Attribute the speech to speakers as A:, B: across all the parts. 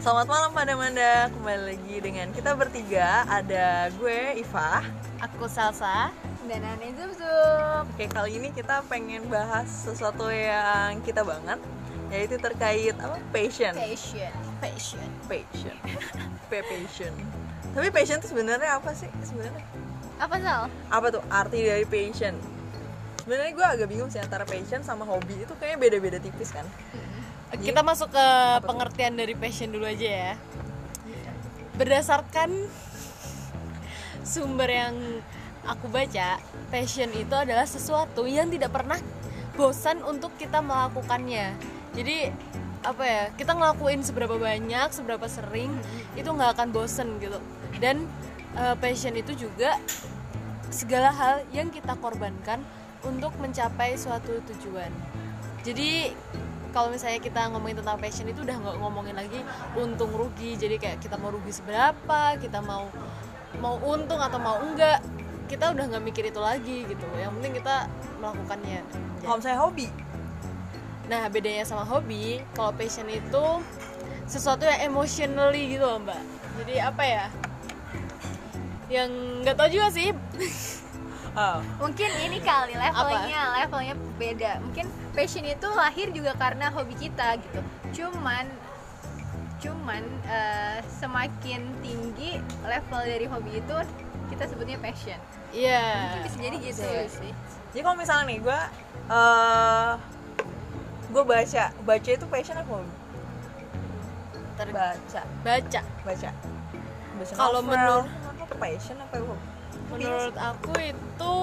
A: Selamat malam pada Manda, kembali lagi dengan kita bertiga Ada gue, Iva
B: Aku Salsa
C: dan Ani Zubzub
A: Oke, kali ini kita pengen bahas sesuatu yang kita banget Yaitu terkait apa? Passion
C: Passion
B: Passion
A: Passion P passion Tapi passion itu sebenarnya apa sih? Sebenarnya
C: Apa Sal?
A: apa tuh arti dari passion? Sebenarnya gue agak bingung sih antara passion sama hobi itu kayaknya beda-beda tipis kan
B: Kita masuk ke pengertian dari passion dulu aja ya Berdasarkan sumber yang aku baca Passion itu adalah sesuatu yang tidak pernah bosan untuk kita melakukannya Jadi apa ya kita ngelakuin seberapa banyak seberapa sering itu nggak akan bosen gitu dan eh, passion itu juga segala hal yang kita korbankan untuk mencapai suatu tujuan. Jadi kalau misalnya kita ngomongin tentang passion itu udah nggak ngomongin lagi untung rugi. Jadi kayak kita mau rugi seberapa, kita mau mau untung atau mau enggak, kita udah nggak mikir itu lagi gitu. Yang penting kita melakukannya.
A: Kalau misalnya hobi,
B: Nah bedanya sama hobi, kalau passion itu sesuatu yang emotionally gitu loh mbak. Jadi apa ya? Yang nggak tahu juga sih
A: oh,
C: Mungkin ini kali levelnya, levelnya beda Mungkin passion itu lahir juga karena hobi kita gitu Cuman cuman eh, semakin tinggi level dari hobi itu kita sebutnya passion
B: Iya.
C: bisa jadi gitu
B: Betul.
C: sih
A: Jadi ya kalau misalnya nih gue eh, gue baca baca itu passion apa hobi?
B: Ntar
A: baca
B: baca.
A: baca baca
B: Kalau
A: novel.
B: menurut-
A: apa passion apa hobi?
B: Menurut aku itu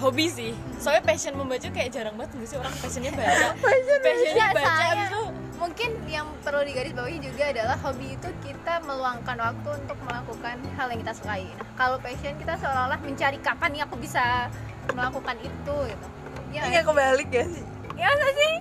B: hobi sih. Soalnya passion membaca kayak jarang banget nggak sih orang passionnya baca. passionnya
C: Nggak,
B: baca
C: soalnya
B: abis itu
C: mungkin yang perlu digarisbawahi juga adalah hobi itu kita meluangkan waktu untuk melakukan hal yang kita sukai. Nah, kalau passion kita seolah-olah mencari kapan nih aku bisa melakukan itu gitu. Ya,
A: Ini kayak kebalik ya sih.
C: ya masa sih?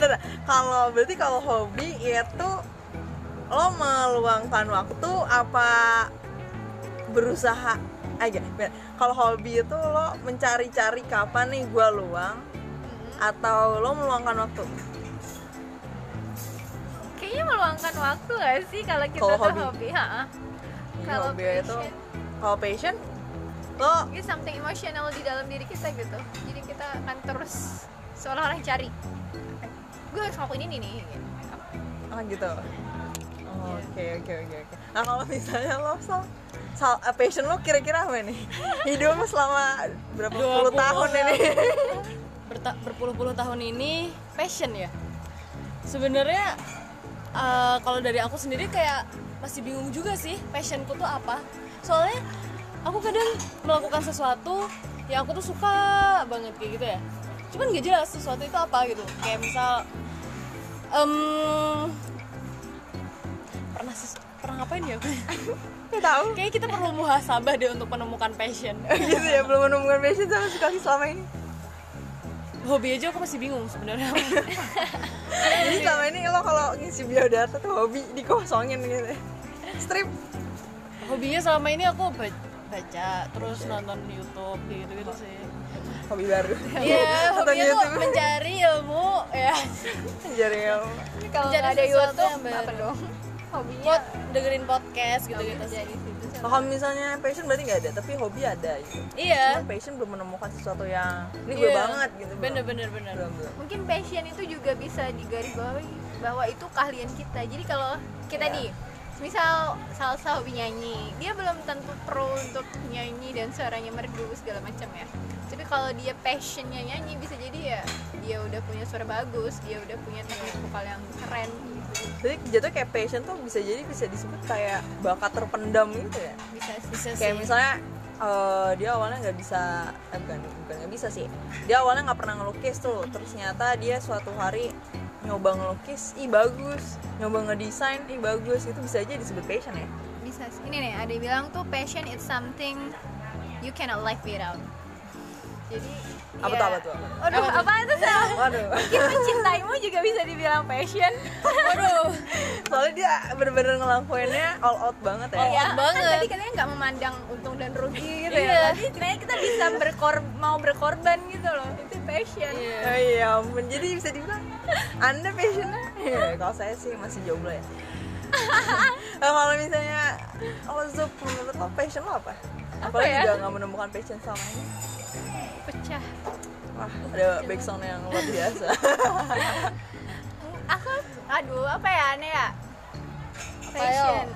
A: Bentar, kalau berarti kalau hobi itu lo meluangkan waktu apa berusaha aja. Bentar, Kalau hobi itu lo mencari-cari kapan nih gue luang Mm-hmm. atau lo meluangkan waktu.
C: Kayaknya meluangkan waktu gak sih kalau kita
A: Kalau
C: tuh
A: hobi.
C: hobi? Ha-ha.
A: Jadi
C: Kalau
A: hobi itu
C: passion.
A: kalau passion lo
C: Ini something emotional di dalam diri kita gitu. Jadi kita akan terus seolah-olah cari. Gue harus ngelakuin ini nih. Gitu.
A: ah gitu. Oh, Oke oke oke oke. Nah kalau misalnya lo sal, sal eh, passion lo kira-kira apa nih? Hidup lo selama berapa puluh
B: 20
A: tahun ini?
B: berta- berpuluh-puluh tahun ini passion ya. Sebenarnya eh, kalau dari aku sendiri kayak masih bingung juga sih passionku tuh apa. Soalnya aku kadang melakukan sesuatu yang aku tuh suka banget kayak gitu ya. Cuman gak jelas sesuatu itu apa gitu. Kayak misal em, pernah ses- pernah ngapain ya?
A: Nggak Tahu?
B: Kayaknya kita perlu muhasabah deh untuk menemukan passion.
A: gitu ya belum menemukan passion sama sekali selama ini.
B: Hobi aja aku masih bingung sebenarnya.
A: Jadi
B: Iya.
A: selama ini lo kalau ngisi biodata tuh hobi dikosongin gitu. ya. Strip.
B: Hobinya selama ini aku ba- baca, terus nonton YouTube gitu-gitu sih.
A: Hobi baru. Nonton
B: Iya, hobinya tuh
A: YouTube. Iya.
B: mencari ilmu ya.
A: Jadi ya, yang
C: Ini Kalau
B: Mencari
C: nggak ada
B: sesuatu
C: YouTube,
B: yang baru.
C: apa dong? Iya. Hobinya
B: Pot dengerin podcast gitu-gitu sih.
C: dari situ sih.
A: kalau misalnya passion berarti nggak ada, tapi hobi ada gitu.
B: Iya.
A: Cuman passion belum menemukan sesuatu yang ini gue
B: Iya.
A: banget gitu. belum.
B: Bener-bener bener.
A: Belum, belum.
C: mungkin passion itu juga bisa digarisbawahi bahwa itu keahlian kita jadi kalau kita
A: Iya.
C: nih misal salsa hobi nyanyi dia belum tentu pro untuk nyanyi dan suaranya merdu segala macam ya tapi kalau dia passionnya nyanyi bisa jadi ya dia udah punya suara bagus dia udah punya teknik vokal yang keren gitu.
A: Jadi jatuh kayak passion tuh bisa jadi bisa disebut kayak bakat terpendam gitu ya.
C: bisa sih
B: Bisa sih.
A: Kayak misalnya eh, dia awalnya nggak bisa, eh, bukan bukan nggak bisa sih. Dia awalnya nggak pernah ngelukis tuh, terus ternyata dia suatu hari nyoba ngelukis, ih bagus. Nyoba ngedesain, ih bagus. Itu bisa aja disebut passion ya.
C: bisa sih ini nih ada yang bilang tuh passion is something you cannot live without jadi
A: Apa
C: ya.
A: tuh, apa tuh, apa tuh?
C: Aduh,
B: Apa tuh?
C: apa tuh Sel?
A: Waduh.
C: Mungkin mencintaimu juga bisa dibilang passion.
B: Waduh,
A: Soalnya dia bener-bener ngelakuinnya all out banget ya.
B: All out.
C: Iya, kan
B: banget.
C: tadi katanya nggak memandang untung dan rugi gitu
B: Iya.
C: ya. Tapi ternyata kita bisa berkor mau berkorban gitu loh. Itu passion.
B: Iya.
A: Oh iya ampun, jadi bisa dibilang Anda passionnya Iya, Kalau saya sih masih jomblo ya Eh, Kalau misalnya Kalau Zup, menurut lo passion lo apa? Apalagi
C: ya?
A: juga gak menemukan passion selama ini
C: Pecah.
A: Wah, ada backsound yang luar biasa
C: Aku aduh, apa ya aneh ya? Passion.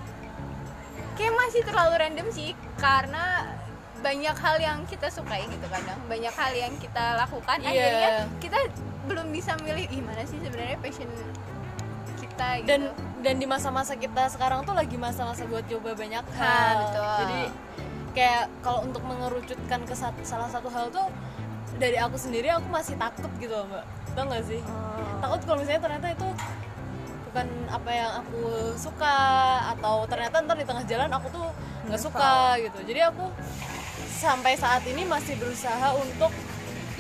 C: Kayak masih terlalu random sih karena banyak hal yang kita sukai gitu kadang. Banyak hal yang kita lakukan
B: Iya.
C: akhirnya kita belum bisa milih gimana sih sebenarnya passion kita gitu.
B: dan dan di masa-masa kita sekarang tuh lagi masa-masa buat coba banyak
A: Iya,
B: hal.
C: Nah, betul.
B: Jadi kayak kalau untuk mengerucutkan ke sat- salah satu hal tuh dari aku sendiri aku masih takut gitu loh, Mbak. Tau gak sih?
C: Oh.
B: Takut kalau misalnya ternyata itu bukan apa yang aku suka atau ternyata ntar di tengah jalan aku tuh nggak suka gitu. Jadi aku sampai saat ini masih berusaha untuk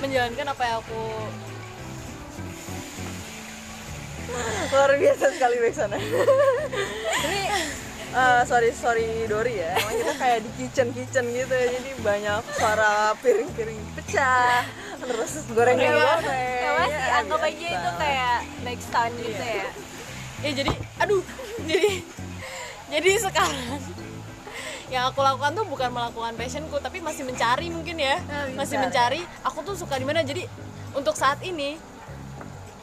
B: menjalankan apa yang aku
A: Luar biasa sekali backsoundnya Eh, sorry sorry Dori ya, emang kita kayak di kitchen kitchen gitu ya, jadi banyak suara piring-piring pecah, terus gorengan goreng.
C: Ya iya. masih
A: Ya,
C: anggap aja
A: biasa.
C: itu kayak backstown gitu ya.
B: ya jadi aduh jadi jadi sekarang yang aku lakukan tuh bukan melakukan passionku tapi masih mencari mungkin ya
C: Ah, bisa.
B: masih mencari aku tuh suka di mana jadi untuk saat ini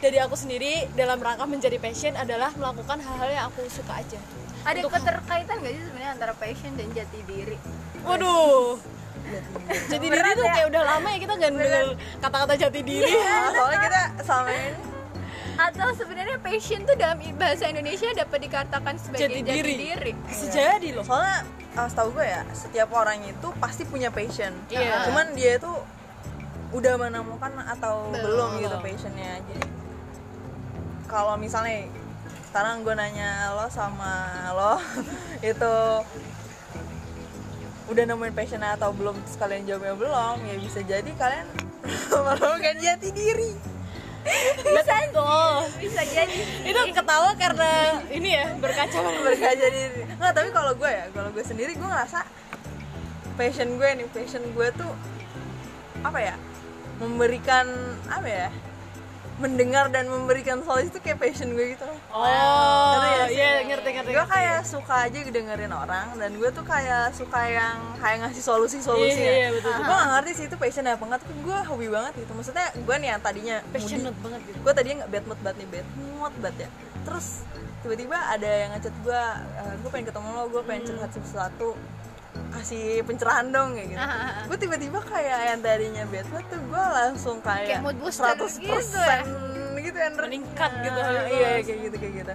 B: dari aku sendiri dalam rangka mencari passion adalah melakukan hal-hal yang aku suka aja
C: Ada
B: Untuk-
C: keterkaitan gak sih sebenarnya antara passion dan jati diri?
B: waduh jadi diri
C: Berat
B: tuh
C: ya? Iya.
B: kayak udah lama ya kita nggak denger kata-kata jati diri
A: Nah, soalnya kita selama ini
C: Atau sebenarnya passion tuh dalam i- bahasa Indonesia dapat dikatakan sebagai
B: jati
C: jati,
B: diri
C: diri.
B: sejadi loh
A: soalnya ah, setahu gue ya setiap orang itu pasti punya passion
B: Iya.
A: cuman dia itu udah menemukan atau belum,
B: Belum.
A: gitu passionnya jadi kalau misalnya sekarang gue nanya lo sama lo itu udah nemuin passionnya atau belum terus kalian jawabnya belum ya bisa jadi kalian menemukan jati diri
B: betul
C: Bisa jadi.
B: itu ketawa karena ini ya berkaca
A: berkaca diri nggak tapi kalau gue ya kalau gue sendiri gue ngerasa passion gue nih passion gue tuh apa ya memberikan apa ya mendengar dan memberikan solusi itu kayak passion gue gitu loh
B: Oh,
A: Ngerti
B: iya
A: gak sih?
B: ngerti ngerti.
A: gue kayak suka aja dengerin orang dan gue tuh kayak suka yang kayak ngasih solusi solusi
B: Iya, iya, betul,
A: gue gak ngerti sih itu passion apa enggak tapi gue hobi banget gitu maksudnya gue nih yang tadinya moody,
B: passionate banget gitu.
A: gue tadinya nggak bad mood banget nih bad mood banget ya terus tiba-tiba ada yang ngechat gue gue pengen ketemu lo gue pengen curhat sesuatu kasih pencerahan dong kayak gitu
C: Hmm. Ah, ah, ah.
A: gue tiba-tiba kayak yang tadinya bad mood tuh gue langsung kayak,
C: Kayak mood booster
A: 100%
C: gitu
A: gitu,
C: ya?
A: energi.
B: Meningkat gitu,
A: Ah,
B: harus.
A: iya kayak gitu kayak gitu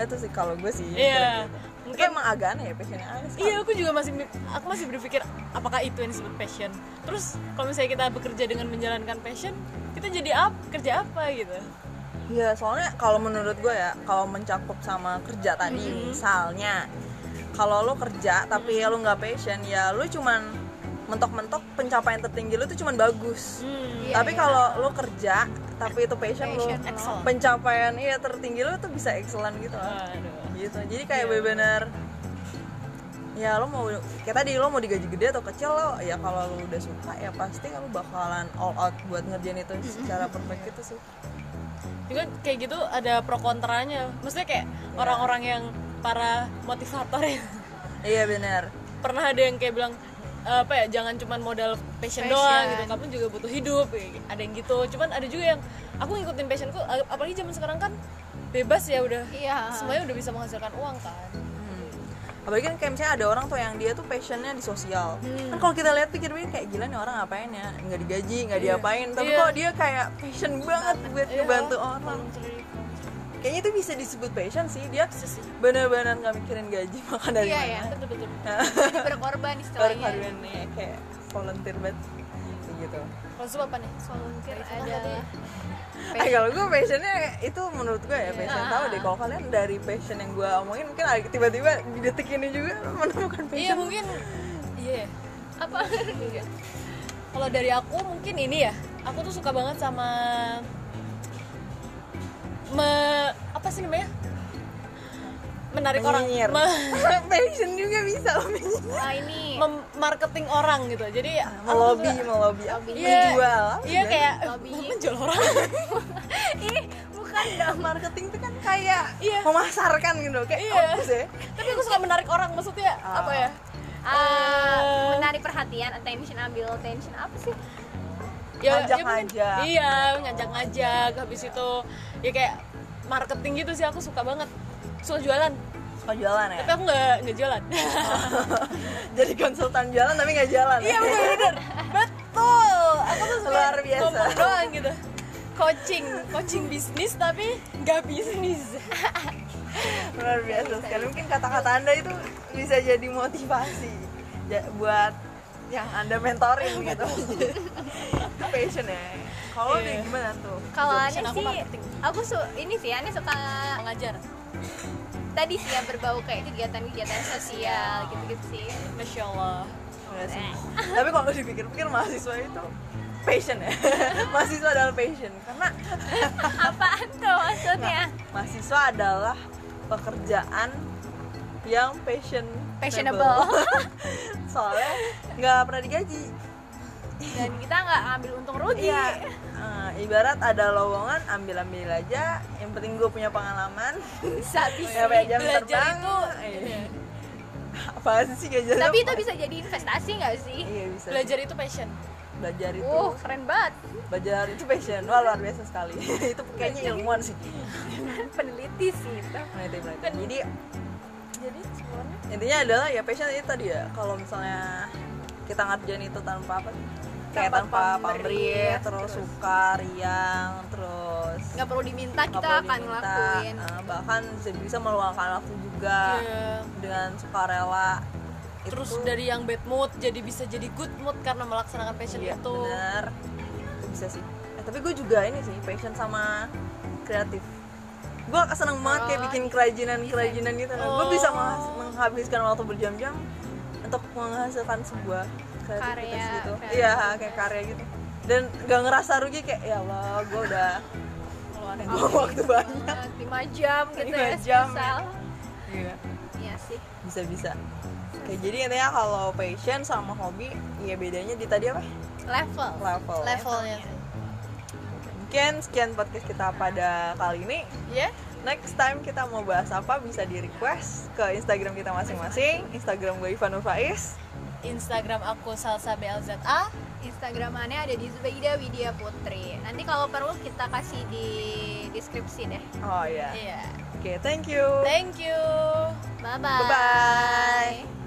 A: itu sih kalau gue sih
B: Iya.
A: mungkin emang agak aneh ya passionnya aneh sekali.
B: Iya, aku juga masih aku masih berpikir apakah itu yang disebut passion. Terus kalau misalnya kita bekerja dengan menjalankan passion, kita jadi apa? Kerja apa gitu?
A: Iya, soalnya kalau menurut gue ya, kalau mencakup sama kerja tadi,
C: Mm-hmm.
A: misalnya kalau lo kerja tapi ya lo nggak passion, ya lo cuman mentok-mentok pencapaian tertinggi lo tuh cuman bagus.
B: Hmm.
C: Iya,
A: tapi
C: iya.
A: kalau lo kerja tapi itu passion, lo,
C: Passion lo.
B: Excel.
A: pencapaian iya tertinggi lo tuh bisa excellent gitu. loh.
B: Aduh.
A: Gitu. Jadi kayak
C: Iya.
A: bener-bener ya lo mau kayak tadi lo mau digaji gede atau kecil lo ya kalau lo udah suka ya pasti lo bakalan all out buat ngerjain itu
C: Mm-hmm.
A: secara perfect gitu sih.
B: Juga kayak gitu ada pro kontranya. Maksudnya kayak orang-orang yang para motivator ya.
A: Iya bener.
B: Pernah ada yang kayak bilang apa ya jangan cuman modal passion,
C: Passion.
B: doang gitu kamu juga butuh hidup ada yang gitu cuman ada juga yang aku ngikutin passionku apalagi zaman sekarang kan bebas ya udah
C: Iya.
B: semuanya udah bisa menghasilkan uang kan
A: Hmm. apalagi kan kayak misalnya ada orang tuh yang dia tuh passionnya di sosial kan kalau kita lihat pikir-pikir kayak gila nih orang ngapain ya nggak digaji nggak diapain tapi
B: Iya.
A: kok dia kayak passion banget buat ngebantu orang kayaknya itu bisa disebut passion sih dia bener-bener nggak mikirin gaji makan dari
C: Iya,
A: mana
C: ya.
B: betul betul
C: Jadi berkorban
A: baru
C: istilahnya.
A: haruan nih kayak volunteer banget Kayak gitu
B: kalau Zoom apa nih Iya,
C: Volunteer
B: Passion
C: ada
B: tadi.
A: Eh kalau gue passionnya itu menurut gue ya passion tahu deh kalau kalian dari passion yang gue omongin mungkin ada- tiba-tiba di detik ini juga menemukan passion
B: iya mungkin iya
C: apa?
B: Kalau dari aku mungkin ini ya. Aku tuh suka banget sama me apa sih namanya? Menarik
A: Menyinyir.
B: orang. Me-
A: passion juga bisa lo menyinyir.
C: Nah, ini
B: mem- marketing orang gitu. Jadi aku tuh
A: melobi
B: suka-
A: melobi
C: Lobby.
A: menjual
B: Iya kayak
C: Lobby.
B: "Eh, menjual orang.
A: ih bukan dah Kan marketing itu kan kayak
B: Iya.
A: memasarkan gitu kayak
B: Iya.
A: apa sih?
B: Tapi aku suka menarik orang maksudnya
A: Ah.
B: apa ya?
C: ah,
B: Eh.
C: menarik perhatian, attention ambil attention apa sih?
A: Ngajak
B: ya, mungkin-
A: ngajak.
B: Iya, ngajak-ngajak habis itu ya kayak marketing gitu sih aku suka banget. Suka jualan,
A: suka jualan ya
B: tapi aku nggak nggak jualan.
A: jadi konsultan jualan tapi nggak jalan
B: iya
A: ya?
B: benar-benar. Betul. Aku tuh suka
A: Luar biasa.
B: ngomong doang gitu. Coaching, coaching bisnis tapi nggak bisnis.
A: luar biasa sekali mungkin kata-kata anda itu bisa jadi motivasi ja- buat yang anda mentoring gitu Itu passion ya kalau
B: Iya.
A: udah gimana tuh
C: Kalau
B: Option
C: Ane
B: aku
C: sih,
B: marketing.
C: aku su ini sih Ane suka
B: Mengajar,
C: tadi sih ya berbau kayak kegiatan-kegiatan sosial gitu-gitu sih. Eh,
B: masya Ya Allah.
A: Enggak sih. tapi kalau dipikir-pikir mahasiswa itu passion ya mahasiswa adalah passion karena
C: Iya. Apaan tuh maksudnya?
A: mahasiswa adalah pekerjaan yang passion
C: Passionable.
A: soalnya nggak pernah digaji
C: Dan kita nggak ambil untung rugi.
A: Iya. Eh, ibarat ada lowongan ambil ambil aja. Yang penting gue punya pengalaman.
C: Sabi
A: Punya apa jam
B: belajar
A: terbang.
B: itu,
A: Iya.
B: iya.
A: Apa sih gak jelas?
C: Tapi itu bisa jadi investasi nggak sih?
A: Iya bisa.
B: Belajar itu passion.
A: Belajar itu.
C: Uh, keren banget.
A: Belajar itu passion. Wah luar biasa sekali. itu kayaknya ilmuwan sih.
C: Peneliti sih itu.
A: Nah, itu berarti.
C: Kan
A: Jadi intinya adalah ya passion itu tadi ya. Kalau misalnya kita ngerjain itu tanpa apa? Kayak
C: Tanpa
A: tanpa
C: pamrih,
A: pamrih, terus
C: terus.
A: suka, riang, terus
C: Nggak perlu diminta,
A: nggak
C: kita
A: perlu
C: akan
A: diminta,
C: ngelakuin.
A: eh, bahkan bisa- bisa meluangkan waktu juga
B: Iya.
A: dengan sukarela Itu-
B: Terus dari yang bad mood jadi bisa jadi good mood karena melaksanakan passion
A: Iya,
B: itu.
A: bener. Itu bisa sih eh, tapi gue juga ini sih passion sama kreatif gue seneng banget kayak
C: Oh,
A: bikin kerajinan kerajinan gitu gue bisa menghas- menghabiskan waktu berjam-jam untuk menghasilkan sebuah kreativitas
C: Karya,
A: gitu
C: kreativitas.
A: iya kayak karya gitu dan gak ngerasa rugi kayak ya Allah gue udah buang waktu banyak
C: Eh, Lima jam gitu
A: Lima
C: ya,
A: jam.
C: spesial.
A: Iya.
C: Iya sih.
A: bisa bisa Oke, jadi intinya kalau passion sama hobi ya bedanya di tadi apa
C: Level.
A: level ya.
B: Levelnya.
A: mungkin sekian podcast kita pada kali ini
B: Ya.
A: next time kita mau bahas apa bisa di request ke instagram kita masing-masing instagram gue Ivan Faiz
B: Instagram aku salsa blza.
C: Instagramannya ada di Zubaida Widya Putri. Nanti kalau perlu kita kasih di deskripsi deh.
A: oh ya
B: Iya.
A: oke thank you
B: Thank you.
C: Bye bye.
A: Bye-bye.